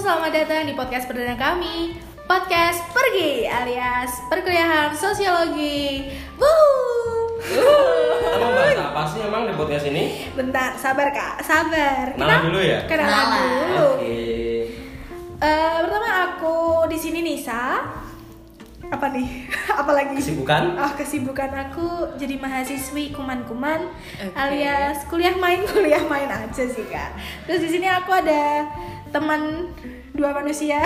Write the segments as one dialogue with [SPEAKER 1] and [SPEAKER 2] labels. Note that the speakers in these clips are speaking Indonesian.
[SPEAKER 1] selamat datang di podcast perdana kami Podcast Pergi alias Perkuliahan Sosiologi Wuhu. Uhuh.
[SPEAKER 2] Emang bahas apa sih emang di podcast ini?
[SPEAKER 1] Bentar, sabar kak, sabar
[SPEAKER 2] Kenalan dulu ya?
[SPEAKER 1] Kenalan
[SPEAKER 3] Kenalan.
[SPEAKER 1] dulu Eh, Pertama aku di sini Nisa Apa nih? apa lagi?
[SPEAKER 2] Kesibukan?
[SPEAKER 1] Oh, kesibukan aku jadi mahasiswi kuman-kuman
[SPEAKER 3] Oke.
[SPEAKER 1] alias kuliah main kuliah main aja sih kak. Terus di sini aku ada teman dua manusia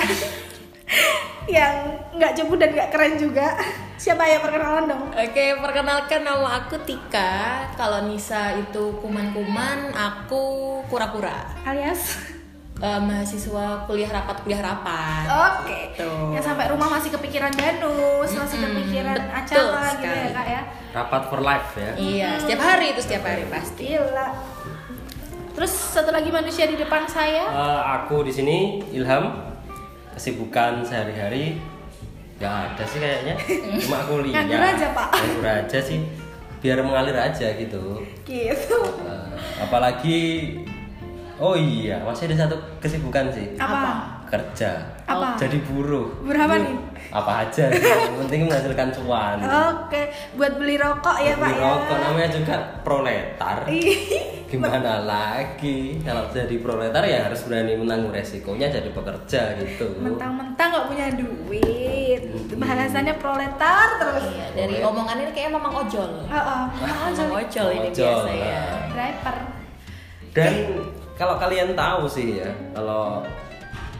[SPEAKER 1] yang nggak jemput dan nggak keren juga. Siapa ya perkenalan dong?
[SPEAKER 3] Oke, perkenalkan nama aku Tika. Kalau Nisa itu kuman-kuman, aku kura-kura.
[SPEAKER 1] Alias.
[SPEAKER 3] Eh, mahasiswa kuliah rapat, kuliah rapat.
[SPEAKER 1] Oke.
[SPEAKER 3] Tuh.
[SPEAKER 1] Yang sampai rumah masih kepikiran danus, masih
[SPEAKER 3] gitu. Mm-mm,
[SPEAKER 1] kepikiran
[SPEAKER 3] betul
[SPEAKER 1] acara gitu ya
[SPEAKER 3] sekali.
[SPEAKER 1] kak ya.
[SPEAKER 2] Rapat for life ya?
[SPEAKER 3] Iya, setiap hari itu setiap hari pasti.
[SPEAKER 1] Gila. Terus satu lagi manusia di depan saya.
[SPEAKER 2] Eh, aku di sini Ilham. Kesibukan sehari-hari Gak ada sih kayaknya Cuma aku lihat
[SPEAKER 1] Nganggur aja, Pak.
[SPEAKER 2] Nganggur aja sih Biar mengalir aja gitu
[SPEAKER 1] Gitu.
[SPEAKER 2] Eh, Apalagi Oh iya, masih ada satu kesibukan sih
[SPEAKER 1] Apa?
[SPEAKER 2] Kerja
[SPEAKER 1] Apa?
[SPEAKER 2] Jadi buruh Iya.
[SPEAKER 1] Berapa nih? Oh,
[SPEAKER 2] Apa aja sih, yang penting menghasilkan cuan
[SPEAKER 1] Oke, buat beli rokok ya Pak ya.
[SPEAKER 2] Beli
[SPEAKER 1] Iya.
[SPEAKER 2] rokok Iya, namanya juga proletar gimana lagi kalau jadi proletar ya harus berani menanggung resikonya jadi pekerja gitu
[SPEAKER 1] Mentang-mentang nggak punya duit, bahasannya proletar terus.
[SPEAKER 3] Iya, dari omongannya kayak mamang ojol.
[SPEAKER 1] Oh, oh. Mahal
[SPEAKER 3] Mamang
[SPEAKER 1] jadi
[SPEAKER 3] ojol ini
[SPEAKER 2] Ojol,
[SPEAKER 3] biasa ya.
[SPEAKER 2] nah.
[SPEAKER 1] driver.
[SPEAKER 2] dan kalau kalian tahu sih ya kalau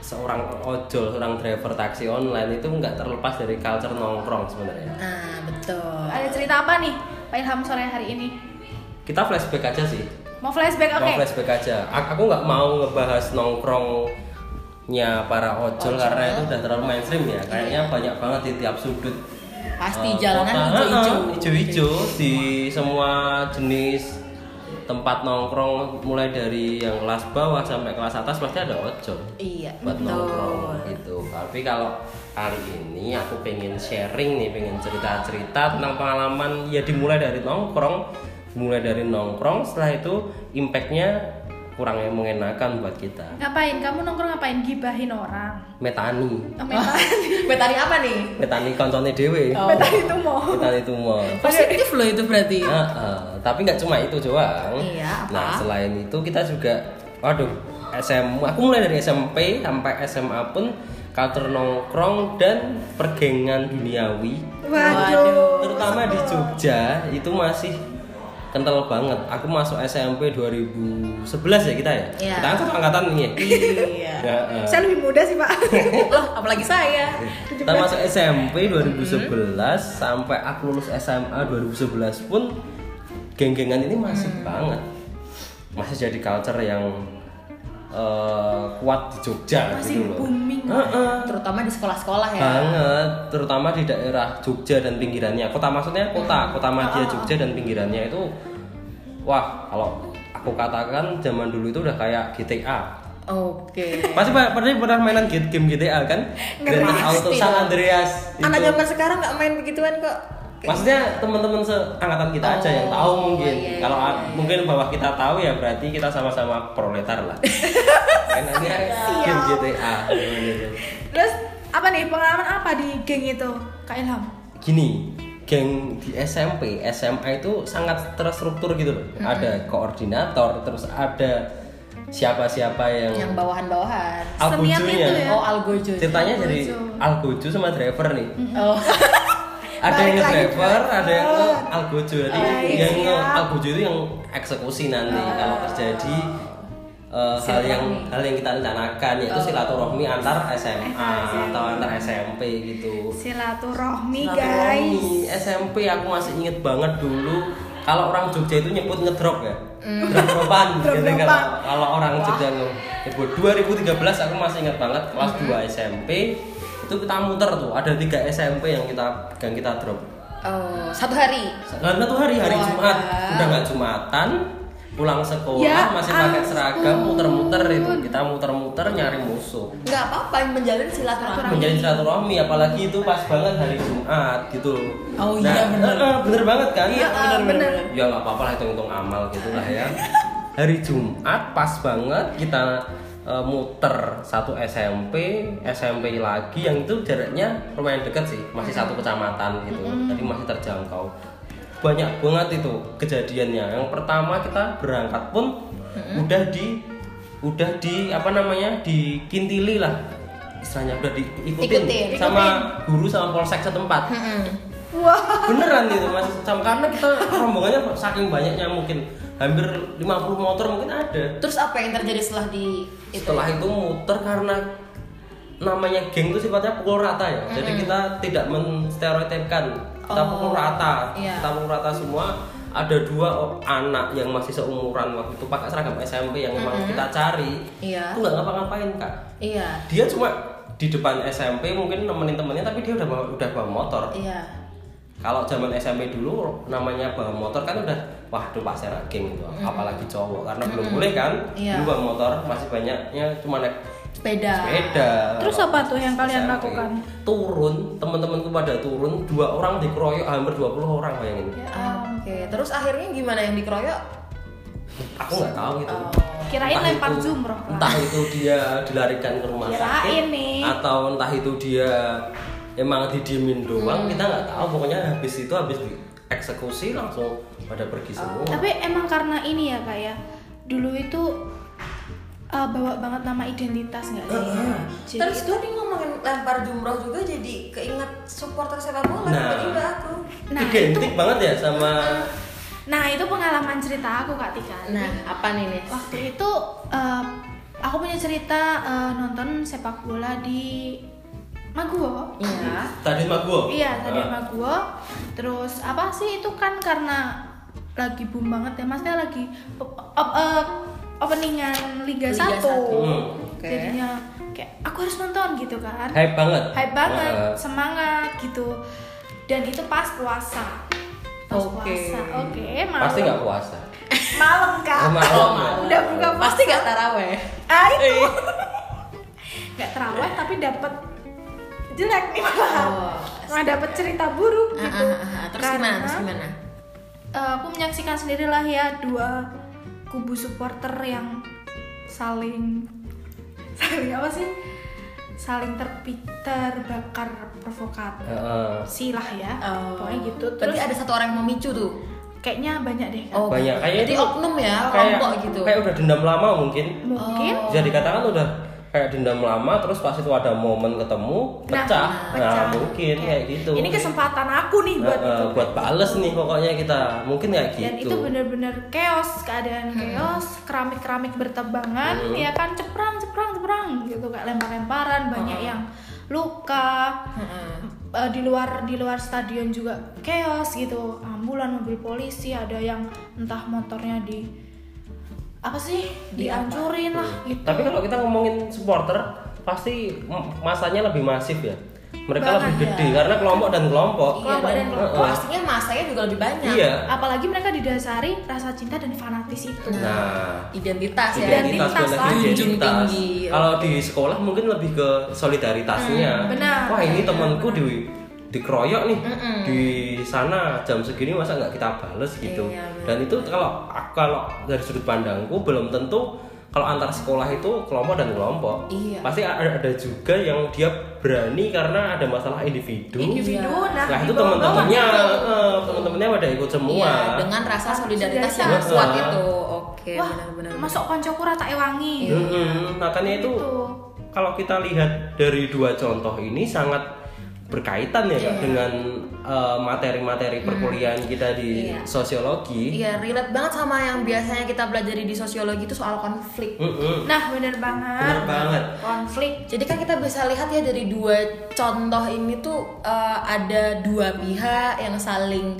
[SPEAKER 2] seorang ojol seorang driver taksi online itu nggak terlepas dari culture nongkrong sebenarnya
[SPEAKER 3] Nah, betul.
[SPEAKER 1] Ada cerita apa nih Pak Ilham sore hari ini?
[SPEAKER 2] kita flashback aja sih
[SPEAKER 1] Mau flashback, oke?
[SPEAKER 2] mau flashback aja A- aku nggak mau ngebahas nongkrongnya para ojol, karena itu udah terlalu mainstream ya kayaknya banyak banget di tiap sudut
[SPEAKER 3] Pasti
[SPEAKER 2] Eh,
[SPEAKER 3] jalanan
[SPEAKER 2] kota,
[SPEAKER 3] hijau-hijau.
[SPEAKER 2] eh, hijau-hijau di semua jenis tempat nongkrong mulai dari yang kelas bawah sampai kelas atas pasti ada ojol
[SPEAKER 3] Iya,
[SPEAKER 2] buat nongkrong
[SPEAKER 3] betul.
[SPEAKER 2] gitu tapi kalau kali ini aku pengen sharing nih pengen cerita cerita tentang pengalaman ya dimulai dari nongkrong mulai dari nongkrong setelah itu impactnya kurang mengenakan buat kita
[SPEAKER 1] Ngapain? Kamu nongkrong ngapain? Gibahin orang.
[SPEAKER 2] metani
[SPEAKER 1] Oh, memang.
[SPEAKER 3] Betari apa nih?
[SPEAKER 2] metani koncone dewe
[SPEAKER 3] Oh.
[SPEAKER 1] Betah itu mau.
[SPEAKER 2] metani tumor
[SPEAKER 3] Positif loh itu berarti.
[SPEAKER 2] Nah, eh, tapi nggak cuma itu doang.
[SPEAKER 3] Iya, apa?
[SPEAKER 2] Nah, selain itu kita juga waduh, SM aku mulai dari SMP sampai SMA pun culture nongkrong dan pergengan duniawi
[SPEAKER 1] Waduh.
[SPEAKER 2] terutama di Jogja itu masih kental banget. Aku masuk SMP 2011 ya kita ya.
[SPEAKER 3] Iya.
[SPEAKER 2] Kita kan satu angkatan ini ya.
[SPEAKER 3] Iya.
[SPEAKER 2] Ya, eh.
[SPEAKER 1] Saya lebih muda sih Pak.
[SPEAKER 3] Loh, apalagi saya.
[SPEAKER 2] Kita masuk SMP 2011
[SPEAKER 1] Mm-hmm.
[SPEAKER 2] sampai aku lulus SMA 2011 pun geng-gengan ini masih
[SPEAKER 1] Mm-hmm.
[SPEAKER 2] banget. Masih jadi culture yang eh, kuat di Jogja
[SPEAKER 1] Masih
[SPEAKER 2] gitu loh.
[SPEAKER 1] booming.
[SPEAKER 2] Heeh,
[SPEAKER 3] Terutama di sekolah-sekolah ya.
[SPEAKER 2] banget, terutama di daerah Jogja dan pinggirannya. Kota maksudnya kota, kota media Jogja dan pinggirannya itu wah, kalau aku katakan zaman dulu itu udah kayak GTA.
[SPEAKER 3] Oke.
[SPEAKER 2] Pasti pa- pernah pernah mainan git- game GTA kan?
[SPEAKER 1] Ngerti.
[SPEAKER 2] Grand Theft Auto
[SPEAKER 3] Pasti
[SPEAKER 2] San
[SPEAKER 3] dong.
[SPEAKER 2] Andreas. itu.
[SPEAKER 3] Anak zaman sekarang nggak main begituan kok.
[SPEAKER 2] Maksudnya teman-teman seangkatan kita aja yang tahu mungkin.
[SPEAKER 3] iya,
[SPEAKER 2] Kalau a- mungkin bawah kita tahu ya berarti kita sama-sama proletar lah. Mainannya game GTA. gimana gitu.
[SPEAKER 1] Terus apa nih pengalaman apa di geng itu Kak Ilham?
[SPEAKER 2] Gini, geng di SMP, SMA itu sangat terstruktur gitu loh. Ada koordinator, terus ada siapa-siapa yang
[SPEAKER 3] Yang bawahan-bawahan.
[SPEAKER 1] Seniat
[SPEAKER 2] algojonya.
[SPEAKER 1] itu ya?
[SPEAKER 3] Oh, algojo.
[SPEAKER 2] Ceritanya jadi algojo sama driver nih.
[SPEAKER 3] Oh.
[SPEAKER 2] ada yang
[SPEAKER 1] Balik lagi
[SPEAKER 2] driver,
[SPEAKER 1] driver. Oh, iya.
[SPEAKER 2] ada yang nge algojo jadi
[SPEAKER 1] Baik,
[SPEAKER 2] yang nge
[SPEAKER 1] siap.
[SPEAKER 2] algojo itu yang eksekusi nanti
[SPEAKER 1] Ah.
[SPEAKER 2] kalau terjadi eh, hal yang hal yang kita rencanakan yaitu silaturahmi antar SMA atau antar SMP gitu.
[SPEAKER 1] Silaturahmi
[SPEAKER 2] Silaturahmi.
[SPEAKER 1] guys.
[SPEAKER 2] SMP aku masih inget banget dulu kalau orang Jogja itu nyebut ngedrop ya. Drop-dropan gitu
[SPEAKER 1] Hmm. Drop-dropan.
[SPEAKER 2] kalau kalau orang Jogja nyebut 2013 aku masih inget banget kelas 2 SMP itu kita muter tuh ada tiga SMP yang kita yang kita drop
[SPEAKER 3] Oh, satu hari.
[SPEAKER 2] karena tuh hari hari
[SPEAKER 3] Wah.
[SPEAKER 2] Jumat udah nggak Jumatan pulang sekolah
[SPEAKER 1] Ya
[SPEAKER 2] masih pakai
[SPEAKER 1] ampun.
[SPEAKER 2] seragam muter-muter itu kita muter-muter nyari musuh
[SPEAKER 3] Nggak apa-apa yang menjalin silaturahmi.
[SPEAKER 2] menjadi silaturahmi apalagi itu pas banget hari Jumat gitu loh
[SPEAKER 3] Oh iya, bener.
[SPEAKER 2] eh, eh, bener banget kan iya
[SPEAKER 3] bener, bener, bener.
[SPEAKER 2] ya nggak apa-apa lah hitung-hitung amal gitu lah ya hari Jumat pas banget kita eh, muter satu SMP, SMP lagi yang itu jaraknya lumayan dekat sih, masih satu kecamatan gitu, jadi masih terjangkau. Banyak banget itu kejadiannya. Yang pertama kita berangkat pun udah di udah di apa namanya dikintili lah istilahnya udah diikutin
[SPEAKER 3] Ikutin.
[SPEAKER 2] sama guru sama polsek setempat
[SPEAKER 1] Wah,
[SPEAKER 2] beneran gitu mas Sam karena kita rombongannya saking banyaknya mungkin hampir 50 motor mungkin ada
[SPEAKER 3] Terus apa yang terjadi setelah di itu?
[SPEAKER 2] setelah itu muter karena namanya geng itu sifatnya pukul rata ya jadi kita tidak menstereotipkan kita
[SPEAKER 3] Oh,
[SPEAKER 2] pukul rata
[SPEAKER 3] iya.
[SPEAKER 2] kita pukul rata semua ada dua o- anak yang masih seumuran waktu itu pakai seragam SMP yang memang kita cari
[SPEAKER 3] Iya.
[SPEAKER 2] itu nggak ngapa-ngapain kak
[SPEAKER 3] Iya.
[SPEAKER 2] dia cuma di depan SMP mungkin nemenin temennya tapi dia udah bawa, udah bawa motor
[SPEAKER 3] Iya.
[SPEAKER 2] kalau zaman SMP dulu namanya bawa motor kan udah wah itu pasti anak geng gitu apalagi cowok karena belum boleh kan
[SPEAKER 3] Iya.
[SPEAKER 2] dulu bawa motor masih banyaknya cuma naik
[SPEAKER 3] Sepeda.
[SPEAKER 2] sepeda
[SPEAKER 1] Iya. terus apa tuh yang kalian
[SPEAKER 2] SMP.
[SPEAKER 1] lakukan?
[SPEAKER 2] turun teman-temanku pada turun dua orang dikeroyok hampir 20 orang bayangin
[SPEAKER 1] Iya.
[SPEAKER 3] Ya, Oke, terus akhirnya gimana yang dikeroyok?
[SPEAKER 2] aku nggak tahu itu
[SPEAKER 1] Oh, Kirain
[SPEAKER 2] Entah
[SPEAKER 1] lempar
[SPEAKER 2] itu-
[SPEAKER 1] jumroh.
[SPEAKER 2] entah itu dia dilarikan ke rumah sakit
[SPEAKER 1] Kirain nih.
[SPEAKER 2] atau entah itu dia emang didiemin doang
[SPEAKER 1] Mm.
[SPEAKER 2] kita nggak tahu pokoknya habis itu habis dieksekusi langsung pada pergi semua
[SPEAKER 1] Tapi emang karena ini ya kak ya, dulu itu eh, bawa banget nama identitas nggak sih? Jadi-
[SPEAKER 3] Iya. terus tadi ngomongin lempar jumroh juga jadi keinget supporter sepak bola
[SPEAKER 2] Nah.
[SPEAKER 3] tiba-tiba aku.
[SPEAKER 1] Nah,
[SPEAKER 2] identik banget ya sama
[SPEAKER 1] nah itu pengalaman cerita aku kak Tika.
[SPEAKER 3] Nah, apa nih nih?
[SPEAKER 1] waktu itu eh, aku punya cerita eh, nonton sepak bola di Maguwo.
[SPEAKER 3] Iya.
[SPEAKER 2] tadi mah gua
[SPEAKER 1] Iya, tadi
[SPEAKER 2] Ah.
[SPEAKER 1] Maguwo. Terus apa sih itu kan karena lagi boom banget ya, maksudnya lagi op- op- eh, openingan Liga,
[SPEAKER 3] Liga
[SPEAKER 1] 1.
[SPEAKER 3] satu.
[SPEAKER 2] Hmm.
[SPEAKER 3] Oke.
[SPEAKER 1] Jadinya kayak aku harus nonton gitu kan.
[SPEAKER 2] hype banget
[SPEAKER 1] Hype banget,
[SPEAKER 2] Ah.
[SPEAKER 1] semangat gitu. Dan itu pas puasa. Pas
[SPEAKER 3] Oke.
[SPEAKER 1] puasa. Oke, malam.
[SPEAKER 2] pasti nggak puasa
[SPEAKER 1] Malam, Kak.
[SPEAKER 2] Oh, malam.
[SPEAKER 1] Udah buka puasa.
[SPEAKER 3] Pasti gak taraweh.
[SPEAKER 1] Ah itu.
[SPEAKER 3] Eh.
[SPEAKER 1] Gak terawih tapi dapat jelek nih malah.
[SPEAKER 3] Oh.
[SPEAKER 1] Nah, dapat cerita buruk
[SPEAKER 3] Ah,
[SPEAKER 1] gitu.
[SPEAKER 3] ah, ah, ah. Terus gimana? Terus gimana?
[SPEAKER 1] eh, aku menyaksikan sendirilah ya dua kubu supporter yang saling saling apa sih? Saling terpi- terbakar provokator.
[SPEAKER 2] Ah.
[SPEAKER 1] Silah ya.
[SPEAKER 2] Oh.
[SPEAKER 1] Pokoknya gitu. Terus
[SPEAKER 3] Berarti ada satu orang yang memicu tuh.
[SPEAKER 1] kayaknya banyak deh. Kak.
[SPEAKER 3] Oh,
[SPEAKER 2] Banyak. Kayaknya
[SPEAKER 3] Jadi
[SPEAKER 2] itu
[SPEAKER 3] oknum ya,
[SPEAKER 2] kayak
[SPEAKER 3] kelompok gitu.
[SPEAKER 2] kayak udah dendam lama mungkin
[SPEAKER 1] Mungkin
[SPEAKER 2] bisa dikatakan udah kayak dendam lama terus pas itu ada momen ketemu pecah nah, mungkin
[SPEAKER 1] Oke.
[SPEAKER 2] kayak gitu
[SPEAKER 1] Ini kesempatan aku nih
[SPEAKER 2] Nah,
[SPEAKER 1] buat
[SPEAKER 2] eh,
[SPEAKER 1] itu.
[SPEAKER 2] buat bales nih pokoknya kita mungkin kayak gitu Hmm.
[SPEAKER 1] dan itu bener-bener chaos keadaan chaos keramik-keramik bertebangan ya kan ceprang ceprang ceprang gitu kayak lempar-lemparan banyak yang luka
[SPEAKER 3] Heeh.
[SPEAKER 1] Eh, di luar di luar stadion juga chaos gitu ambulan mobil polisi ada yang entah motornya di apa sih dihancurin lah gitu
[SPEAKER 2] tapi kalau kita ngomongin supporter pasti m- masanya lebih masif ya mereka
[SPEAKER 1] Banget,
[SPEAKER 2] lebih gede karena kelompok dan kelompok
[SPEAKER 3] Iya,
[SPEAKER 1] Kelompok
[SPEAKER 3] dan
[SPEAKER 1] dan
[SPEAKER 2] kelompok.
[SPEAKER 3] pastinya masanya juga lebih banyak.
[SPEAKER 2] iya
[SPEAKER 1] apalagi mereka didasari rasa cinta dan fanatis itu
[SPEAKER 2] nah
[SPEAKER 3] Identitas ya.
[SPEAKER 1] Dan Identitas. kan?
[SPEAKER 2] identitas balik
[SPEAKER 1] lah.
[SPEAKER 2] ke
[SPEAKER 3] Junjung
[SPEAKER 2] identitas.
[SPEAKER 3] tinggi.
[SPEAKER 2] Kalau di sekolah mungkin lebih ke solidaritasnya.
[SPEAKER 1] Hmm, benar.
[SPEAKER 2] Wah ini temanku di dikeroyok nih di sana jam segini masa nggak kita bales gitu.
[SPEAKER 3] Iya,
[SPEAKER 2] Dan itu kalau kalau dari sudut pandangku belum tentu kalau antar sekolah itu kelompok dan kelompok
[SPEAKER 3] Iya.
[SPEAKER 2] pasti ada, ada juga yang dia berani karena ada masalah individu.
[SPEAKER 1] individu nah
[SPEAKER 2] Nah
[SPEAKER 1] di
[SPEAKER 2] itu
[SPEAKER 1] bawah-bawah. gitu.
[SPEAKER 2] teman-temannya eh, teman-temannya pada ikut semua.
[SPEAKER 3] Iya, dengan rasa solidaritas yang
[SPEAKER 2] Solidaritas.
[SPEAKER 3] kuat itu. Oke,
[SPEAKER 1] wah
[SPEAKER 3] benar-benar.
[SPEAKER 1] masuk koncoku rata ewangi
[SPEAKER 3] Iya.
[SPEAKER 2] Mm-mm, makanya itu
[SPEAKER 1] Gitu.
[SPEAKER 2] kalau kita lihat dari dua contoh ini sangat berkaitan ya
[SPEAKER 3] Iya.
[SPEAKER 2] Kak, dengan eh, materi-materi perkuliahan kita di
[SPEAKER 3] Hmm. Iya.
[SPEAKER 2] sosiologi.
[SPEAKER 3] Iya, relate banget sama yang biasanya kita pelajari di sosiologi itu soal konflik.
[SPEAKER 2] Mm-mm,
[SPEAKER 1] Nah, bener banget.
[SPEAKER 2] Bener banget.
[SPEAKER 1] Konflik.
[SPEAKER 3] Jadi kan kita bisa lihat ya dari dua contoh ini tuh eh, ada dua pihak yang saling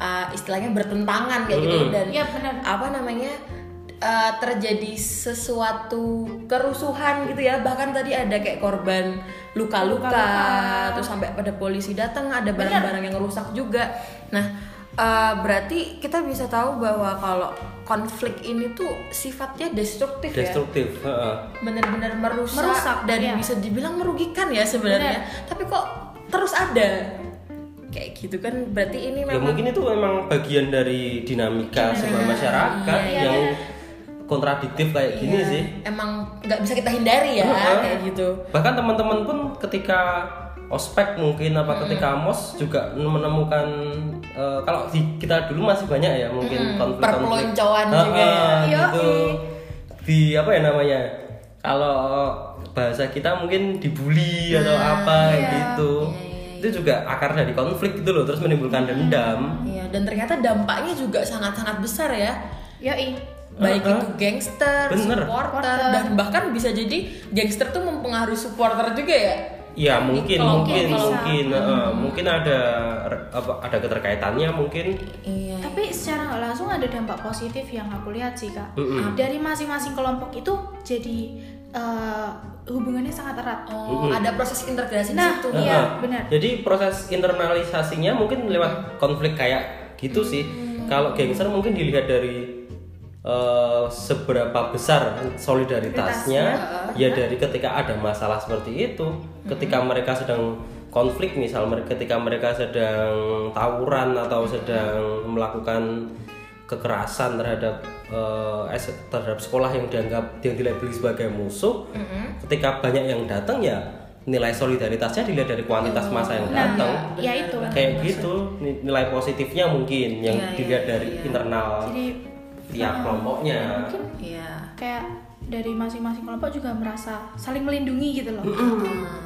[SPEAKER 3] eh, istilahnya bertentangan kayak gitu dan
[SPEAKER 1] Iya, bener.
[SPEAKER 3] apa namanya eh, terjadi sesuatu kerusuhan gitu ya bahkan tadi ada kayak korban luka-luka
[SPEAKER 1] Luka-luka.
[SPEAKER 3] terus sampai pada polisi datang ada barang-barang yang rusak juga nah eh, berarti kita bisa tahu bahwa kalau konflik ini tuh sifatnya destruktif, ya
[SPEAKER 2] Destruktif. heeh.
[SPEAKER 3] benar-benar merusak,
[SPEAKER 1] Merusak,
[SPEAKER 3] dan
[SPEAKER 1] iya.
[SPEAKER 3] bisa dibilang merugikan ya sebenarnya tapi kok terus ada kayak gitu kan berarti ini
[SPEAKER 2] Ya
[SPEAKER 3] memang
[SPEAKER 2] mungkin itu memang bagian dari dinamika sebuah masyarakat
[SPEAKER 1] Iya,
[SPEAKER 2] yang kontradiktif kayak gini
[SPEAKER 3] Iya,
[SPEAKER 2] sih
[SPEAKER 3] Emang nggak bisa kita hindari ya
[SPEAKER 2] Heeh.
[SPEAKER 3] kayak gitu.
[SPEAKER 2] bahkan teman-teman pun ketika ospek mungkin apa ketika mos juga menemukan eh, kalau di kita dulu masih banyak ya mungkin konflik-konflik
[SPEAKER 3] perpeloncoan juga ya.
[SPEAKER 2] Heeh,
[SPEAKER 1] Yoi.
[SPEAKER 2] gitu di apa ya namanya kalau bahasa kita mungkin dibully atau apa
[SPEAKER 1] iya.
[SPEAKER 2] gitu itu juga akar dari konflik gitu loh terus menimbulkan dendam
[SPEAKER 3] Iya, dan ternyata dampaknya juga sangat-sangat besar ya.
[SPEAKER 1] Yoi.
[SPEAKER 3] Baik
[SPEAKER 2] Heeh.
[SPEAKER 3] itu gangster,
[SPEAKER 2] Bener.
[SPEAKER 3] supporter,
[SPEAKER 1] Supporter.
[SPEAKER 3] dan bahkan bisa jadi gangster tuh mempengaruhi supporter juga ya.
[SPEAKER 2] ya mungkin
[SPEAKER 3] Kalau
[SPEAKER 2] mungkin
[SPEAKER 1] bisa.
[SPEAKER 2] mungkin heeh, mungkin ada re- apa ada keterkaitannya mungkin
[SPEAKER 3] Iya.
[SPEAKER 1] Tapi secara nggak langsung ada dampak positif yang aku lihat sih kak.
[SPEAKER 2] Mm-mm.
[SPEAKER 1] Dari masing-masing kelompok itu jadi eh, hubungannya sangat erat.
[SPEAKER 2] Mhm.
[SPEAKER 3] Oh, ada proses integrasi
[SPEAKER 1] Nah,
[SPEAKER 3] di situ.
[SPEAKER 1] Iya,
[SPEAKER 2] Heeh.
[SPEAKER 1] benar.
[SPEAKER 2] Jadi proses internalisasinya mungkin lewat konflik kayak gitu sih.
[SPEAKER 1] Hmm.
[SPEAKER 2] Kalau gangster mungkin dilihat dari eh, seberapa besar solidaritasnya, ya dari ketika ada masalah seperti itu,
[SPEAKER 1] Hmm.
[SPEAKER 2] ketika mereka sedang konflik misal mere- ketika mereka sedang tawuran atau sedang melakukan kekerasan terhadap eh, es- terhadap sekolah yang dianggap yang dilabeli sebagai musuh, ketika banyak yang datang ya nilai solidaritasnya dilihat dari kuantitas
[SPEAKER 3] Oh,
[SPEAKER 2] massa yang
[SPEAKER 1] Nah,
[SPEAKER 2] datang
[SPEAKER 3] iya.
[SPEAKER 1] ya itu.
[SPEAKER 2] kayak gitu ni- nilai positifnya mungkin yang
[SPEAKER 3] Iya, iya,
[SPEAKER 2] dilihat dari
[SPEAKER 3] iya. ah,
[SPEAKER 2] internal
[SPEAKER 1] Jadi
[SPEAKER 2] tiap kelompoknya
[SPEAKER 1] mungkin
[SPEAKER 3] Iya.
[SPEAKER 1] kayak dari masing-masing kelompok juga merasa saling melindungi gitu loh.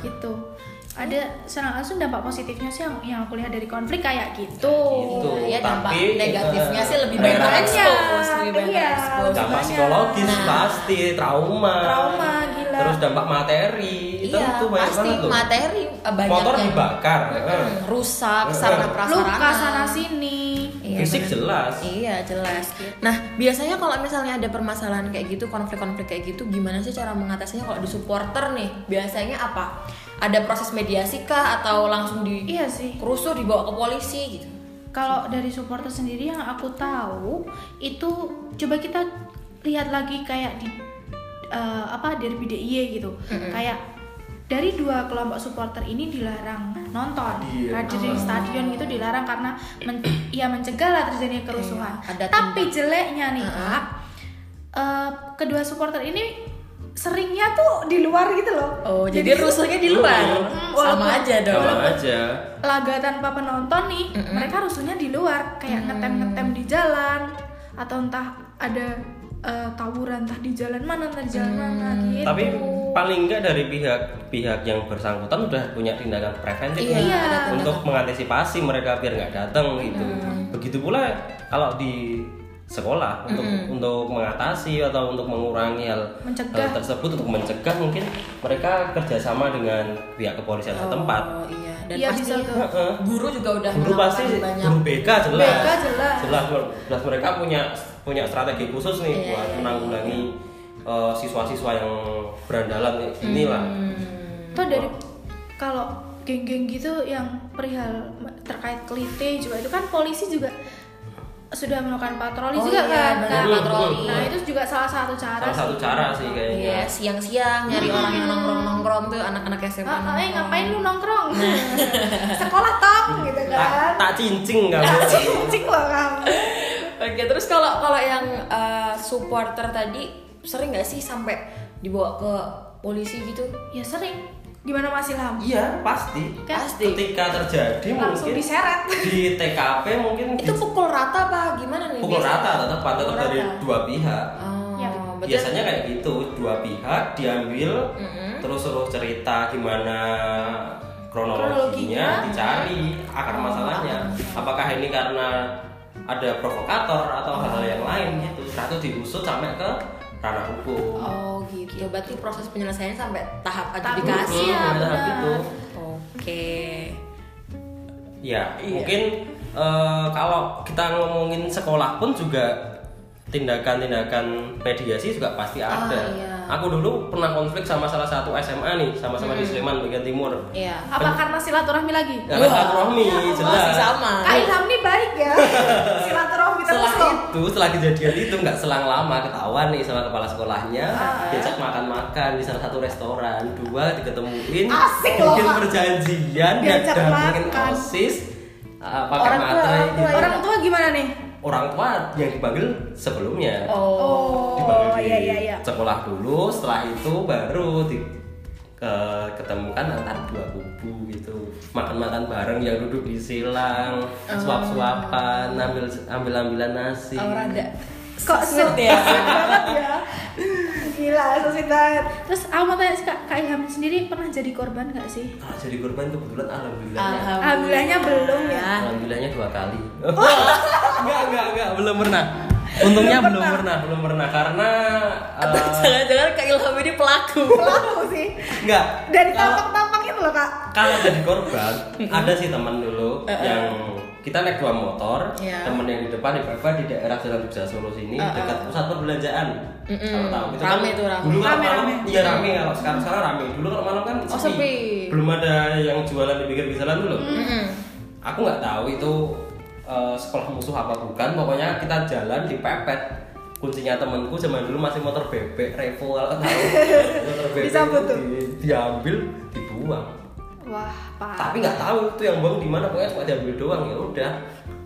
[SPEAKER 1] gitu. Ada secara langsung dampak positifnya sih yang, yang aku lihat dari konflik kayak gitu.
[SPEAKER 2] Gitu.
[SPEAKER 3] Iya, dampak
[SPEAKER 2] Tapi,
[SPEAKER 3] negatifnya
[SPEAKER 2] eh,
[SPEAKER 3] sih lebih banyak
[SPEAKER 2] banyak.
[SPEAKER 3] terekspos, lebih banyak
[SPEAKER 1] Iya.
[SPEAKER 3] terekspos.
[SPEAKER 2] dampak
[SPEAKER 1] Banyak.
[SPEAKER 2] psikologis
[SPEAKER 3] Nah.
[SPEAKER 2] pasti trauma
[SPEAKER 1] Trauma, gila.
[SPEAKER 2] terus dampak materi itu
[SPEAKER 3] Iya,
[SPEAKER 2] tuh banyak
[SPEAKER 3] pasti
[SPEAKER 2] banget tuh
[SPEAKER 3] materi eh, banyak
[SPEAKER 2] motor
[SPEAKER 3] yang
[SPEAKER 2] dibakar eh.
[SPEAKER 3] Hmm, rusak,
[SPEAKER 2] Eh, eh.
[SPEAKER 3] sarana gitu. prasarana.
[SPEAKER 1] Luka sana sini.
[SPEAKER 3] Iya,
[SPEAKER 2] fisik
[SPEAKER 3] benar.
[SPEAKER 2] jelas
[SPEAKER 3] Iya jelas. Nah biasanya kalau misalnya ada permasalahan kayak gitu, konflik-konflik kayak gitu, gimana sih cara mengatasinya kalau di supporter nih? Biasanya apa? Ada proses mediasi kah atau langsung di
[SPEAKER 1] Iya sih.
[SPEAKER 3] kerusuh dibawa ke polisi gitu?
[SPEAKER 1] Kalau dari supporter sendiri yang aku tahu itu coba kita lihat lagi kayak di eh, apa derby DIY gitu. Kayak dari dua kelompok supporter ini dilarang nonton,
[SPEAKER 2] Hadir.
[SPEAKER 3] Iya.
[SPEAKER 1] hadir
[SPEAKER 3] Oh.
[SPEAKER 1] di stadion gitu dilarang karena men- ya mencegah lah terjadinya kerusuhan.
[SPEAKER 3] Iya, ada
[SPEAKER 1] Tapi jeleknya nih
[SPEAKER 3] Mm-mm.
[SPEAKER 1] Kak, eh, kedua supporter ini seringnya tuh di luar gitu loh.
[SPEAKER 3] Oh jadi, rusuhnya di luar,
[SPEAKER 1] Mm,
[SPEAKER 3] Iya, sama
[SPEAKER 1] walaupun-
[SPEAKER 3] aja dong.
[SPEAKER 2] sama aja
[SPEAKER 1] laga tanpa penonton nih mereka rusuhnya di luar kayak ngetem ngetem di jalan atau entah ada eh, tawuran entah di jalan mana entah di jalan mana gitu
[SPEAKER 2] tapi paling enggak dari pihak pihak yang bersangkutan udah punya tindakan preventif
[SPEAKER 3] Iya,
[SPEAKER 2] nih,
[SPEAKER 1] Iya. ada
[SPEAKER 3] tindakan.
[SPEAKER 2] untuk mengantisipasi mereka biar nggak datang gitu
[SPEAKER 3] Hmm.
[SPEAKER 2] begitu pula kalau di sekolah untuk
[SPEAKER 3] Hmm.
[SPEAKER 2] untuk mengatasi atau untuk mengurangi hal, hal
[SPEAKER 1] Mencegah.
[SPEAKER 2] tersebut untuk mencegah mungkin mereka kerjasama dengan pihak kepolisian setempat
[SPEAKER 3] Oh iya dan
[SPEAKER 1] Iya,
[SPEAKER 3] pasti
[SPEAKER 1] bisa tuh.
[SPEAKER 2] Heeh.
[SPEAKER 3] guru juga udah
[SPEAKER 2] guru pasti
[SPEAKER 3] menawarkan banyak.
[SPEAKER 2] guru BK jelas
[SPEAKER 1] BK jelas.
[SPEAKER 2] jelas jelas mereka punya punya strategi khusus
[SPEAKER 3] Iya,
[SPEAKER 2] nih buat menanggulangi eh, siswa-siswa yang berandalan kayak gini lah
[SPEAKER 3] Hmm.
[SPEAKER 1] Tuh dari kalau geng-geng gitu yang perihal terkait kelite juga itu kan polisi juga sudah melakukan patroli
[SPEAKER 3] Oh
[SPEAKER 1] juga kan
[SPEAKER 3] iya, benar,
[SPEAKER 1] Kak?
[SPEAKER 2] patroli.
[SPEAKER 1] Nah itu juga salah satu cara
[SPEAKER 2] salah satu
[SPEAKER 1] sih.
[SPEAKER 2] cara sih
[SPEAKER 3] Iya Hmm.
[SPEAKER 2] kayaknya
[SPEAKER 3] siang-siang nyari orang yang nongkrong-nongkrong tuh anak-anak SMA.
[SPEAKER 1] Ah, ah, eh
[SPEAKER 3] nongkrong.
[SPEAKER 1] ngapain lu nongkrong? Sekolah tong gitu
[SPEAKER 2] tak
[SPEAKER 1] kan?
[SPEAKER 2] tak cincing kamu
[SPEAKER 1] Cing loh kamu.
[SPEAKER 3] Oke, terus kalau kalau yang uh, supporter tadi sering nggak sih sampai dibawa ke polisi gitu?
[SPEAKER 1] Ya sering. Gimana Mas Ilham?
[SPEAKER 2] iya pasti
[SPEAKER 3] Pasti.
[SPEAKER 2] ketika terjadi
[SPEAKER 1] Langsung
[SPEAKER 2] mungkin
[SPEAKER 1] diseret.
[SPEAKER 2] di TKP mungkin di-
[SPEAKER 3] Itu pukul rata apa gimana nih?
[SPEAKER 2] pukul
[SPEAKER 3] biasanya?
[SPEAKER 2] rata tetap tetap
[SPEAKER 3] Pukul
[SPEAKER 2] dari
[SPEAKER 3] rata.
[SPEAKER 2] dua pihak
[SPEAKER 3] Oh,
[SPEAKER 1] Ya.
[SPEAKER 3] berarti-
[SPEAKER 2] biasanya kayak gitu dua pihak diambil terus suruh cerita gimana
[SPEAKER 1] Kronologinya.
[SPEAKER 2] kronologinya dicari akar masalahnya apakah ini karena ada provokator atau hal-hal yang lain gitu satu diusut sampai ke ranah hukum
[SPEAKER 3] Oh gitu. Berarti proses penyelesaiannya sampai tahap
[SPEAKER 1] Tahap
[SPEAKER 3] adjudikasi.
[SPEAKER 1] Iya,
[SPEAKER 2] Hmm, ada
[SPEAKER 1] benar.
[SPEAKER 2] gitu.
[SPEAKER 3] Oke. Iya.
[SPEAKER 2] Ya, mungkin eh, kalau kita ngomongin sekolah pun juga tindakan-tindakan mediasi juga pasti
[SPEAKER 3] Ah,
[SPEAKER 2] ada.
[SPEAKER 3] iya.
[SPEAKER 2] Aku dulu pernah konflik sama salah satu SMA nih, sama-sama di
[SPEAKER 3] Hmm.
[SPEAKER 2] Sleman bagian timur.
[SPEAKER 3] Iya.
[SPEAKER 1] Apa karena silaturahmi lagi?
[SPEAKER 2] Ya, kan, silaturahmi,
[SPEAKER 3] Masih
[SPEAKER 2] jelas.
[SPEAKER 3] sama.
[SPEAKER 1] Kak Ilham nih baik ya. silaturahmi terus
[SPEAKER 3] Setelah
[SPEAKER 1] loh.
[SPEAKER 2] Itu setelah kejadian itu nggak selang lama ketahuan nih sama kepala sekolahnya,
[SPEAKER 3] Ah,
[SPEAKER 2] diajak makan-makan di salah satu restoran, dua diketemuin,
[SPEAKER 1] Asik loh,
[SPEAKER 2] bikin
[SPEAKER 1] Kak.
[SPEAKER 2] perjanjian,
[SPEAKER 1] Diajak
[SPEAKER 2] datangin
[SPEAKER 1] makan.
[SPEAKER 2] osis, eh, pakai
[SPEAKER 3] Orang tua-
[SPEAKER 2] materai
[SPEAKER 3] orang tua
[SPEAKER 2] gitu.
[SPEAKER 1] Orang tua gimana nih?
[SPEAKER 2] orang tua yang dipanggil sebelumnya
[SPEAKER 3] Oh.
[SPEAKER 2] dipanggil
[SPEAKER 1] Oh,
[SPEAKER 2] di
[SPEAKER 1] iya iya iya.
[SPEAKER 2] sekolah dulu setelah itu baru di ke ketemukan antar dua kubu gitu makan-makan bareng yang duduk di silang suap-suapan ambil ambil ambilan nasi
[SPEAKER 3] Oh, rada.
[SPEAKER 1] Kok
[SPEAKER 3] Sweet
[SPEAKER 1] sweet
[SPEAKER 3] ya?
[SPEAKER 1] sweet banget ya. Gila, so sweet banget. Terus aku mau tanya Kak, Kak Ilham sendiri pernah jadi korban gak sih?
[SPEAKER 2] Kalau jadi korban kebetulan alhamdulillah ya.
[SPEAKER 1] Alhamdulillahnya belum ya.
[SPEAKER 3] Ah.
[SPEAKER 2] Alhamdulillahnya dua kali. enggak, enggak, enggak, belum pernah. Untungnya belum pernah, belum pernah karena
[SPEAKER 3] Atau
[SPEAKER 2] eh,
[SPEAKER 3] jangan-jangan Kak Ilham ini pelaku.
[SPEAKER 1] Pelaku sih.
[SPEAKER 2] enggak.
[SPEAKER 1] Dari
[SPEAKER 2] Kalau-
[SPEAKER 1] tampak-tampak itu loh, Kak.
[SPEAKER 2] kalau jadi korban, ada sih teman dulu yang kita naik dua motor,
[SPEAKER 3] Eh, Iya. Eh,
[SPEAKER 2] temen yang di depan di bawah di daerah Jalan Jogja Solo sini dekat pusat perbelanjaan. Kalau tahu itu
[SPEAKER 3] Rame
[SPEAKER 2] kan
[SPEAKER 3] tuh, rame.
[SPEAKER 2] Dulu kalau
[SPEAKER 1] Rame,
[SPEAKER 2] malam,
[SPEAKER 1] rame.
[SPEAKER 2] iya rame kalau sekarang sekarang rame. Dulu kalau malam kan
[SPEAKER 3] Oh, sepi. Mm.
[SPEAKER 2] Belum ada yang jualan di pinggir jalan dulu. Aku nggak tahu itu eh, sekolah musuh apa bukan. Pokoknya kita jalan dipepet kuncinya temanku zaman dulu masih motor bebek Revo kalau tahu motor bebek
[SPEAKER 1] Disambut
[SPEAKER 2] itu
[SPEAKER 1] tuh.
[SPEAKER 2] di- diambil dibuang
[SPEAKER 1] Wah, Pak.
[SPEAKER 2] tapi nggak tahu itu yang buang di mana pokoknya cuma diambil doang ya udah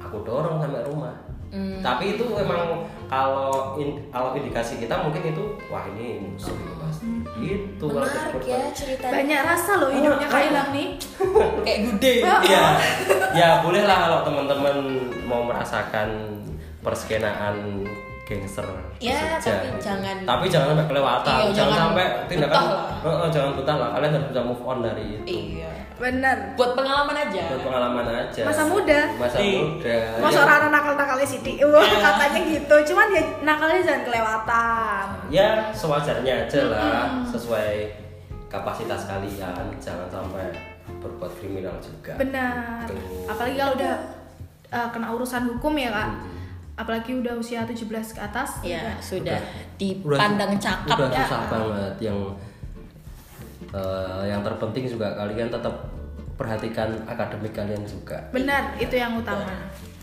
[SPEAKER 2] aku dorong sampai rumah
[SPEAKER 3] Hmm.
[SPEAKER 2] tapi itu emang kalau in- kalau indikasi kita mungkin itu wah ini musuh ini pasti gitu kalau jadi
[SPEAKER 3] Hmm. Menarik ya
[SPEAKER 2] korban.
[SPEAKER 3] ceritanya.
[SPEAKER 1] Banyak rasa loh hidupnya Kak Ilham nih.
[SPEAKER 3] Kayak gude.
[SPEAKER 2] Iya. ya boleh lah kalau teman-teman mau merasakan perskenaan gangster di Jogja
[SPEAKER 3] Ya, tapi
[SPEAKER 2] gitu.
[SPEAKER 3] jangan-
[SPEAKER 2] tapi jangan sampai kelewatan
[SPEAKER 3] Iya,
[SPEAKER 2] jangan,
[SPEAKER 3] jangan
[SPEAKER 2] sampai tindakan
[SPEAKER 3] betah lah.
[SPEAKER 2] Eh, eh, jangan betah lah kalian harus bisa move on dari itu
[SPEAKER 3] Iya.
[SPEAKER 1] Bener.
[SPEAKER 3] Buat pengalaman aja.
[SPEAKER 2] Buat pengalaman aja
[SPEAKER 1] Masa muda.
[SPEAKER 2] masa
[SPEAKER 3] Iya.
[SPEAKER 2] muda
[SPEAKER 1] Masa
[SPEAKER 2] Ya.
[SPEAKER 1] orang nakal-nakalnya sih di Wah, katanya gitu. Cuman ya nakalnya jangan kelewatan.
[SPEAKER 2] ya sewajarnya aja lah sesuai kapasitas kalian jangan sampai berbuat kriminal juga
[SPEAKER 1] Benar.
[SPEAKER 2] Iya. Betul.
[SPEAKER 1] Apalagi kalau udah uh, kena urusan hukum ya, Kak. Apalagi udah usia 17 ke atas.
[SPEAKER 3] Ya,
[SPEAKER 1] udah.
[SPEAKER 3] sudah
[SPEAKER 2] Iya. Udah-
[SPEAKER 3] dipandang cakap
[SPEAKER 2] udah
[SPEAKER 3] ya.
[SPEAKER 2] susah banget yang eh, yang terpenting juga kalian tetap perhatikan akademik kalian juga
[SPEAKER 1] Benar, itu yang utama. Nah.